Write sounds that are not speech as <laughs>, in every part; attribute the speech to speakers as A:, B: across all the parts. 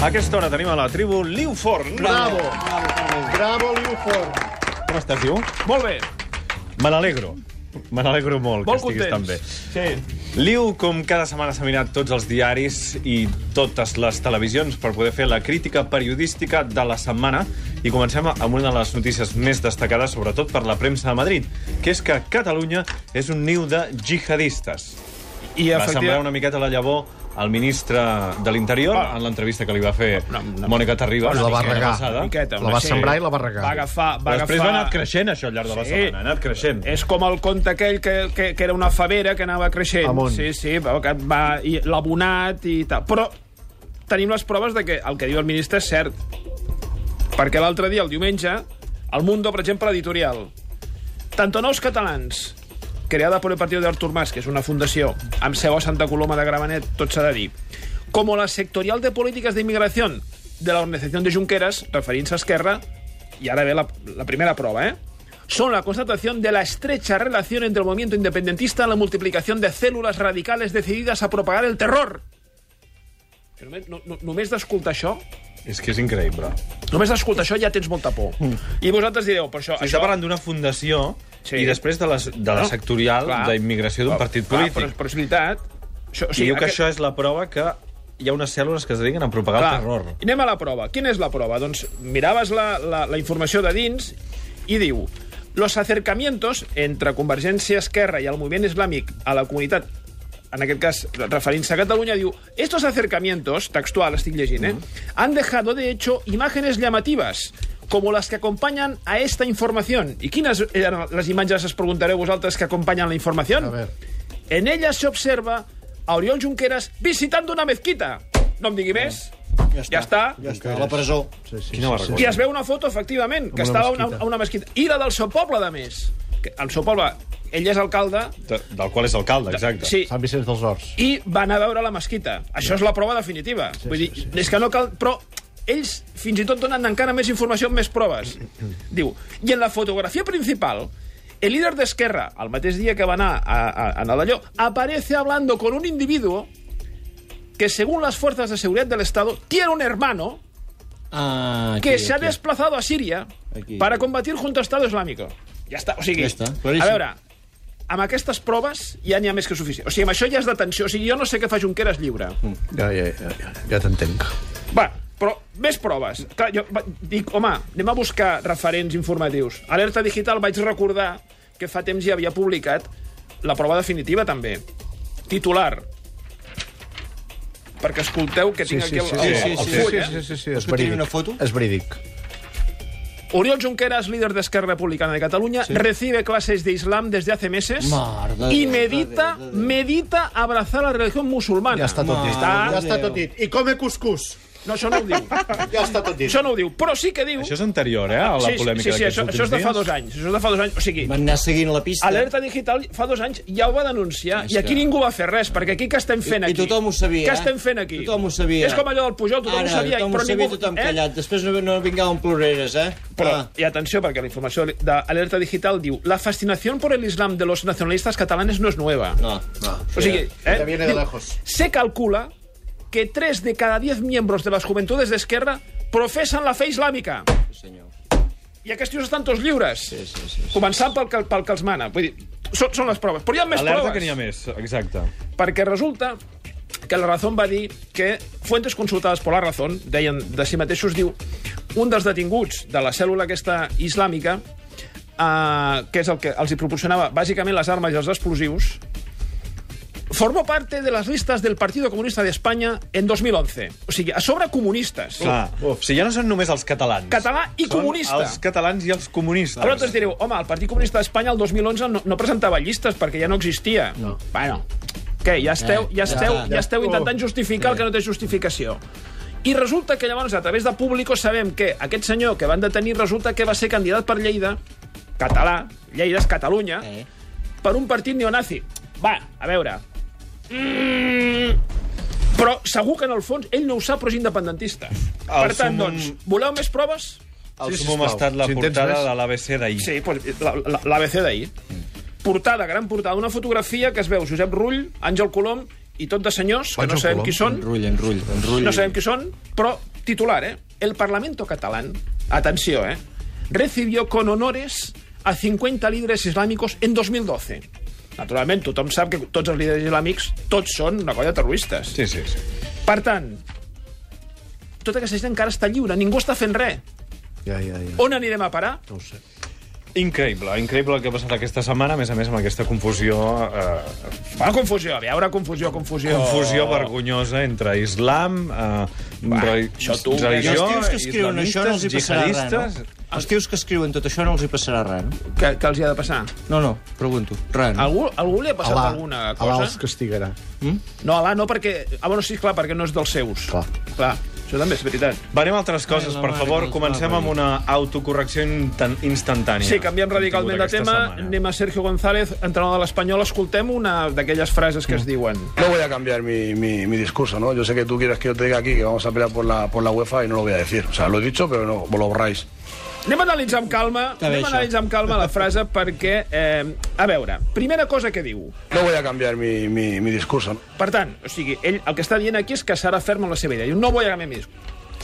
A: A aquesta hora tenim a la tribu Liu Forn.
B: Bravo! Bravo, Liu Forn!
A: Com estàs, Liu?
C: Molt bé,
A: Me n'alegro. Me n'alegro molt,
C: molt
A: que estiguis tan bé.
C: contents. Sí.
A: Liu, com cada setmana s'ha mirat tots els diaris i totes les televisions per poder fer la crítica periodística de la setmana i comencem amb una de les notícies més destacades, sobretot per la premsa de Madrid, que és que Catalunya és un niu de jihadistes.
C: I
A: Va sembrar una miqueta la llavor al ministre de l'Interior
C: Va.
A: en l'entrevista que li va fer
C: Ah. Una- una-
A: Mònica Terribas.
B: Bueno, la va
A: la
B: regar.
A: passada.
C: Una miqueta,
B: La va
C: sí.
B: sembrar i la va regar.
C: Va agafar... Va
A: eh? Però després va Eh.
C: agafar...
A: anar creixent, això, al llarg de la
C: Sí.
A: setmana. Ha anat creixent.
C: És com el conte aquell que, que, que era una favera que anava creixent.
B: Amunt.
C: Sí, sí, va, que va i l'abonat i tal. Però tenim les proves de que el que diu el ministre és cert. Perquè l'altre dia, el diumenge, el Mundo, per exemple, editorial. Tanto Nous Catalans, creada por el partido de Artur Mas, que és una fundació amb seu a Santa Coloma de Gramenet, tot s'ha de dir, com la sectorial de polítiques d'immigració de la organització de Junqueras, referint-se a Esquerra, i ara ve la, la primera prova, eh? Son la constatación de la estrecha relación entre el movimiento independentista y la multiplicación de células radicales decididas a propagar el terror. Que només, no, no, només d'escoltar això,
A: És que és increïble.
C: només d'escoltar això ja tens molta por. I vosaltres direu, però això...
A: Això... Està
C: això...
A: parlant d'una fundació sí.
C: Sí.
A: i després de la, de la
C: No,
A: sectorial
C: clar.
A: d'immigració d'un partit
C: Clar,
A: polític.
C: Ah, Però, però és veritat. Això, o
A: I diu que
C: aquest-
A: això és la prova que hi ha unes cèl·lules que es dediquen a propagar
C: Clar,
A: el terror.
C: anem a la prova. Quina és la prova? Doncs miraves la, la, la informació de dins i diu... Los acercamientos entre Convergència Esquerra i el moviment islàmic a la comunitat en aquest cas, referint-se a Catalunya, diu Estos acercamientos, textual, estic llegint,
A: Mm.
C: eh, han dejado, de hecho, imágenes llamativas, como las que acompañan a esta información. I quines eren les imatges, es preguntareu vosaltres, que acompanyen la informació?
B: A ver.
C: En ella se observa a Oriol Junqueras visitando una mezquita. No em digui més. Ja està. Ja està.
D: Ja està, a la presó.
B: Sí, sí,
A: Quina vergonya.
C: I es veu una foto, efectivament, que
B: Amb una
C: estava a una,
B: mesquita.
C: a una mesquita. I la del seu poble, de més. Que, el seu poble, ell és alcalde,
A: De, del qual és alcalde, exacte.
C: sí,
B: Sant Vicenç dels Horts.
C: i va anar a veure la mesquita. Això és la prova definitiva. Vull dir, és que no cal... Però ells fins i tot donen encara més informació amb més proves.
B: <clears throat>
C: Diu, i en la fotografia principal, el líder d'Esquerra, el mateix dia que va anar a, a, a Nadalló, aparece hablando con un individuo que, según las fuerzas de seguridad del Estado, tiene un hermano
D: Ah, aquí,
C: que se ha
D: aquí.
C: desplazado a Síria
D: Aquí.
C: para combatir junto a Estado Islámico. Ja està, o sigui...
D: Ja està,
C: a
D: claríssim.
C: veure, amb aquestes proves ja n'hi ha més que suficient. O sigui, amb això ja és detenció. O sigui, jo no sé què fa Junqueras lliure. Mm.
B: Ja, ja, ja, ja, ja t'entenc.
C: Va, però més proves. Clar, jo va- dic, home, anem a buscar referents informatius. Alerta Digital vaig recordar que fa temps ja havia publicat la prova definitiva, també. Titular. Perquè escolteu que tinc aquí el, el,
D: sí,
C: el
D: sí,
C: full, eh?
B: sí, sí, sí, sí,
D: Vols
B: és
D: que tiri
B: verídic.
D: una foto?
B: És verídic.
C: Oriol Junqueras, líder de Esquerra Republicana de Cataluña, recibe clases de Islam desde hace meses
D: Mare
C: y
D: de-
C: medita,
D: de- de-
C: medita abrazar la religión musulmana.
B: Ja està tot dit.
C: Està-
B: Ja està tot dit. I come cuscús.
C: No, això no ho
D: <laughs>
C: diu.
B: Ja està tot dit.
C: això no ho diu. Però sí que diu...
A: Això és anterior, eh, a la
C: sí,
A: polèmica
C: sí, sí,
A: d'aquests
C: això, això és de
A: últims
C: fa dos
A: dies.
C: anys. Això és de fa dos anys. O sigui,
D: Van anar seguint la pista.
C: Alerta Digital fa dos anys ja ho va denunciar i aquí ningú va fer res, perquè aquí què estem fent
D: I- i
C: aquí?
D: tothom ho sabia,
C: Què
D: eh?
C: estem fent aquí?
D: Tothom ho sabia.
C: És com allò del Pujol, tothom
D: Ara,
C: ho sabia,
D: tothom
C: però
D: ho sabia, eh?
C: ningú... Eh?
D: tothom callat. Després no, no vinga amb ploreres, eh?
C: Però,
D: Ah.
C: i atenció, perquè la informació d'Alerta Digital diu la fascinación por el Islam de los nacionalistas catalanes no es nueva.
D: No, no.
C: O sigui, eh,
B: Te viene de
C: diu,
B: lejos.
C: se calcula que 3 de cada 10 miembros de las juventudes de Esquerra profesan la fe islàmica.
D: Sí, senyor.
C: I aquests tios estan tots lliures.
D: Sí, sí, sí, sí.
C: Començant pel que, pel que els mana. Vull dir, són, són les proves. Però hi ha més
A: Alerta
C: proves.
A: que n'hi ha més, exacte.
C: Perquè resulta que la Razón va dir que fuentes consultades per la Razón, deien de si mateixos, diu un dels detinguts de la cèl·lula aquesta islàmica, eh, que és el que els hi proporcionava bàsicament les armes i els explosius, formó parte de las listas del Partido Comunista de España en 2011. O sigui, a sobre comunistes.
A: Clar. Uf. O sigui, ja no són només els catalans.
C: Català i
A: són
C: comunista.
A: els catalans i els comunistes.
C: Però vosaltres direu, home, el Partit Comunista d'Espanya el 2011 no, no presentava llistes perquè ja no existia. No. Bueno, què, ja esteu, ja
D: Ja
C: esteu,
D: està.
C: ja esteu intentant justificar el que no té justificació. I resulta que llavors, a través de Público, sabem que aquest senyor que van detenir resulta que va ser candidat per Lleida, català, Lleida és Catalunya,
D: Eh?
C: per un partit neonazi. Va, a veure... Mm. Però segur que en el fons ell no ho sap, però és independentista. per tant,
A: sumum-
C: doncs, voleu més proves?
A: El
B: Sí,
A: sí, sumum
B: sisplau.
A: ha estat la
B: Si en tens
A: portada
B: més.
A: de l'ABC d'ahir.
C: Sí, pues, la- la- l'ABC d'ahir. Portada, gran portada, una fotografia que es veu Josep Rull, Àngel Colom i tot de senyors, que
B: Vaig
C: no
B: al
C: sabem
B: Colom.
C: qui són,
D: Enrull, enrull, enrull.
C: no sabem qui són, però titular, eh? El Parlamento catalán, atenció, eh? Recibió con honores a 50 líderes islàmicos en 2012. Naturalment, tothom sap que tots els líders islàmics, tots són una colla de terroristes.
A: Sí, sí, sí.
C: Per tant, tota aquesta gent encara està lliure, ningú està fent res.
B: Ja, ja, ja.
C: On anirem a parar?
B: No ho sé.
A: Increïble, increïble el que ha passat aquesta setmana, a més a més amb aquesta confusió... Eh,
C: Bueno, confusió, a veure, confusió, confusió...
A: confusió
C: Oh.
A: vergonyosa entre islam, eh, re,
C: això tu, eh,
D: I
A: religió,
D: els tios que escriuen això no els hi passarà res,
A: jihadistes...
D: no? Els tios que escriuen tot això no els hi passarà res, no?
C: Que, que els hi ha de passar.
D: No, no, pregunto. Res, no?
C: Algú, algú li ha passat
B: Alà,
C: alguna
B: Alà
C: cosa?
B: els castigarà.
C: No, Alà no, perquè... Ah, bueno, sí, clar, perquè no és dels seus.
B: Clar.
C: Clar, això també és veritat.
A: Venim a altres coses,
D: la
A: per
D: mare que
A: favor.
D: els
A: Comencem
D: va
A: amb una autocorrecció intan- instantània.
C: Sí, canviem radicalment de
A: Aquesta
C: tema.
A: setmana.
C: Anem a Sergio González, entrenador de l'Espanyol. Escoltem una d'aquelles frases
B: Mm.
C: que es diuen.
E: No voy a cambiar mi, mi- mi discurso, ¿no? Yo sé que tú quieres que yo te diga aquí que vamos a pelear por la, por la UEFA y no lo voy a decir. O sea, lo he dicho, pero no, vos lo borráis.
C: Anem a analitzar amb calma,
D: Està bé,
C: anem a
D: això.
C: analitzar amb calma la frase perquè... Eh, a veure, primera cosa que diu.
E: No voy a cambiar mi, mi- mi discurso, ¿no?
C: Per tant, o sigui, ell el que està dient aquí és que serà ferm en la seva idea. Diu, no vull agafar més.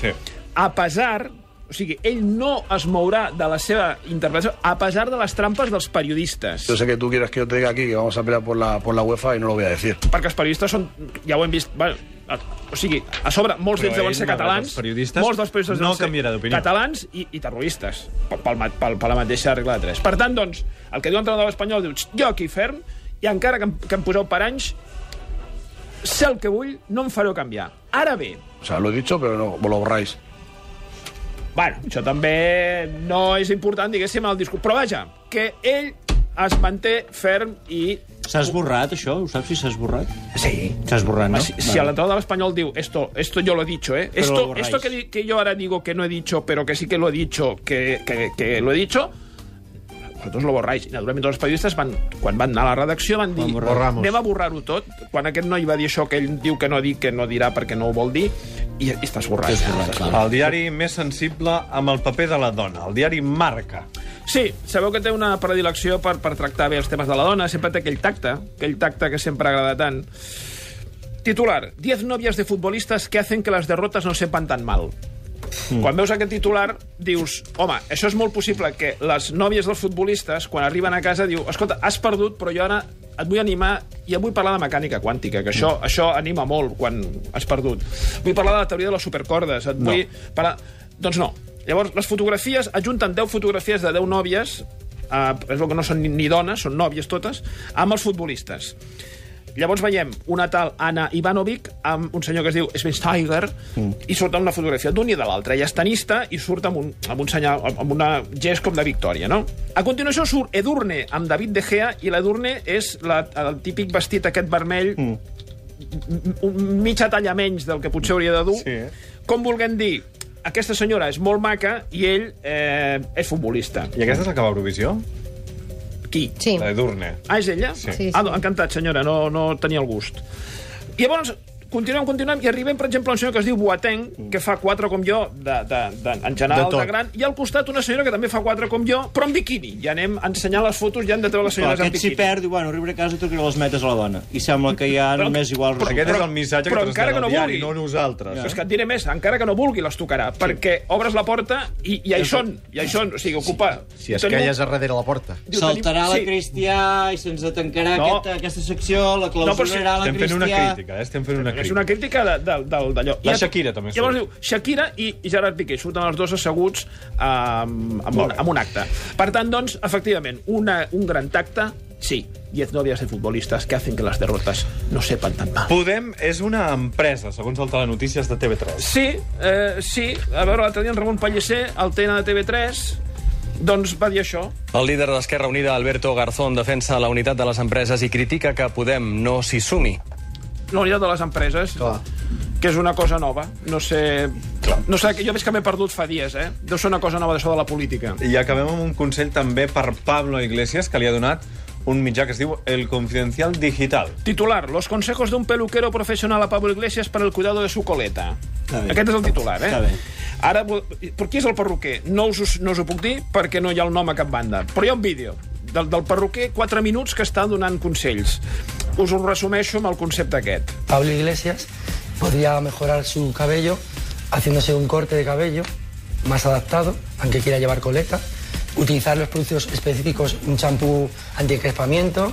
A: Sí.
C: A pesar... O sigui, ell no es mourà de la seva intervenció a pesar de les trampes dels periodistes.
E: Yo sé que tú quieres que yo te diga aquí que vamos a pelear por la, por la UEFA y no lo voy a decir.
C: perquè els periodistes són... Ja ho hem vist... Bueno, a, o sigui, a sobre, molts
A: Però
C: d'ells deuen
A: ell,
C: ser
A: malgrat
C: catalans.
A: els periodistes,
C: molts dels periodistes
A: no
C: deuen ser
A: canviarà d'opinió.
C: Catalans i, i terroristes, pel, pel, ma- pel, per la mateixa regla de tres. Per tant, doncs, el que diu l'entrenador espanyol diu, "Xt, jo aquí ferm, i encara que em, que em poseu per anys, sé el que vull, no em fareu canviar. Ara bé,
E: O sea, lo he dicho, pero no, vos lo borráis.
C: bueno, això també no és important, diguéssim, en el discurs. Però vaja, que ell es manté ferm i...
D: S'ha esborrat, això? Ho saps si s'ha esborrat?
C: Sí,
D: S'ha esborrat, no?
C: Si, si
D: Vale.
C: l'entrenador de l'Espanyol diu esto, esto yo lo he dicho, eh?
D: Pero lo
C: Esto,
D: borráis.
C: esto que, di- que yo ahora digo que no he dicho, pero que sí que lo he dicho, que, que, que lo he dicho, vosaltres lo borráis. I naturalment tots els periodistes, van, quan van anar a la redacció, van dir
B: borramos.
C: anem a borrar-ho tot. Quan aquest noi va dir això que ell diu que no dic, que no dirà perquè no ho vol dir, i, i està esborrat.
D: S'ha esborrat, clar.
A: El diari més sensible amb el paper de la dona, el diari Marca.
C: Sí, sabeu que té una predilecció per, per tractar bé els temes de la dona, sempre té aquell tacte, aquell tacte que sempre agrada tant. Titular, 10 novias de futbolistes que hacen que les derrotes no sepan tan mal. Mm. Quan veus aquest titular, dius, home, això és molt possible que les nòvies dels futbolistes, quan arriben a casa, diu, escolta, has perdut, però jo ara et vull animar i et vull parlar de mecànica quàntica, que això, això anima molt quan has perdut. Vull parlar de la teoria de les supercordes, et no. vull parlar... Doncs no. Llavors, les fotografies, ajunten 10 fotografies de 10 nòvies, eh, és el que no són ni, ni dones, són nòvies totes, amb els futbolistes. Llavors veiem una tal Anna Ivanovic amb un senyor que es diu Schweinsteiger mm. i surt amb una fotografia d'un i de l'altre. Ella és tenista i surt amb un, amb un senyal, amb una gest com de victòria, no? A continuació surt Edurne amb David De Gea i l'Edurne és la, el típic vestit aquest vermell mm. un mitja talla menys del que potser hauria de dur.
A: Sí.
C: Com vulguem dir, aquesta senyora és molt maca i ell eh, és futbolista.
A: I aquesta és la que va a Eurovisió?
C: Qui?
F: Sí.
A: La d'Urne.
C: Ah, és ella?
A: Sí.
F: Sí, sí.
C: Ah, no, encantat, senyora, no, no tenia el gust. I llavors, continuem, continuem, i arribem, per exemple, a un senyor que es diu Boateng, que fa quatre com jo, de, de, de, en general,
B: Mm. De
C: de,
B: tot.
C: de gran, i al costat una senyora que també fa quatre com jo, però en biquini. Ja anem a ensenyar les fotos, ja hem de treure les
D: Però
C: senyores en
D: aquest s'hi
C: biquini.
D: perd, diu, bueno, arribaré a casa i trucaré les metes a la dona. I sembla que ja només igual
C: però
A: Aquest
D: resultat.
A: és el missatge que
C: però encara
A: trasllada
C: que no
A: el diari,
C: vulgui.
A: no nosaltres.
B: eh?
C: Però és que et diré més, encara que no vulgui les tocarà, sí. perquè obres la porta i, i hi són, i hi són, o sigui, ocupa...
B: Si es
C: Tenim-
B: queies a darrere la porta.
C: diu, tenim-
D: Saltarà la
C: sí.
D: Cristià i se'ns tancarà
C: No.
D: aquesta, aquesta secció, la
C: No, però si-
D: clausurarà la
A: Estem fent
D: Cristià...
A: una crítica, eh? Estem fent una
C: És
A: crítica.
C: una crítica de- del- del- d'allò.
A: La
C: I et-
A: Shakira també surt.
C: Llavors diu, Shakira i i Gerard Piqué. Surten els dos asseguts um, amb, un, amb un acte. Per tant, doncs, efectivament, una, un gran tacte, sí. 10 novias de futbolistas que hacen que las derrotas no sepan tan mal.
A: Podem és una empresa, segons el Telenotícies de TV3.
C: Sí, eh, sí. A veure, l'altre dia en Ramon Pellicer, al TN de TV3, doncs va dir això.
G: El líder d'Esquerra Unida, Alberto Garzón, defensa la unitat de les empreses i critica que Podem no s'hi sumi.
C: La unitat de les empreses, Clar. que és una cosa nova. No sé... No sé, jo veig que m'he perdut fa dies, eh? Deu ser una cosa nova d'això de la política.
A: I acabem amb un consell també per Pablo Iglesias, que li ha donat un mitjà que es diu El Confidencial Digital.
C: Titular, los consejos de un peluquero profesional a Pablo Iglesias para el cuidado de su coleta.
D: Està bé.
C: Aquest és el titular, eh?
D: Està bé.
C: Ara, vo- per qui és el perruquer? No us, us- no us ho puc dir perquè no hi ha el nom a cap banda. Però hi ha un vídeo del, del perruquer, 4 minuts, que està donant consells. us ho resumeixo amb el concepte aquest.
F: Pablo Iglesias podría mejorar su cabello haciéndose un corte de cabello más adaptado, aunque quiera llevar coleta, utilizar los productos específicos, un champú antiencrespamiento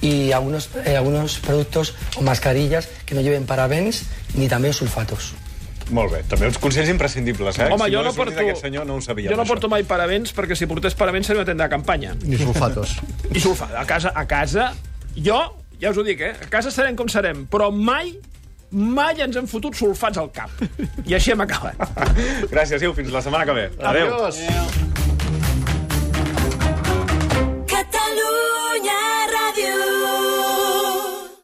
F: y algunos, eh, algunos productos o mascarillas que no lleven parabens ni también sulfatos.
A: Molt bé, també uns consells imprescindibles, eh?
C: Home,
A: si
C: jo no
A: hagués sortit
C: porto...
A: Aquest senyor no ho sabia.
C: jo no
A: <laughs>
C: porto mai parabens, perquè si portés parabens seria una tenda de campanya.
B: Ni sulfatos.
C: I sulfa, a casa, a casa, jo, ja us ho dic, eh? A casa serem com serem, però mai, mai ens han fotut sulfats al cap. I així hem acabat.
A: Gràcies, Iu, fins la setmana que ve. Adéu.
B: Adiós.
D: Adéu.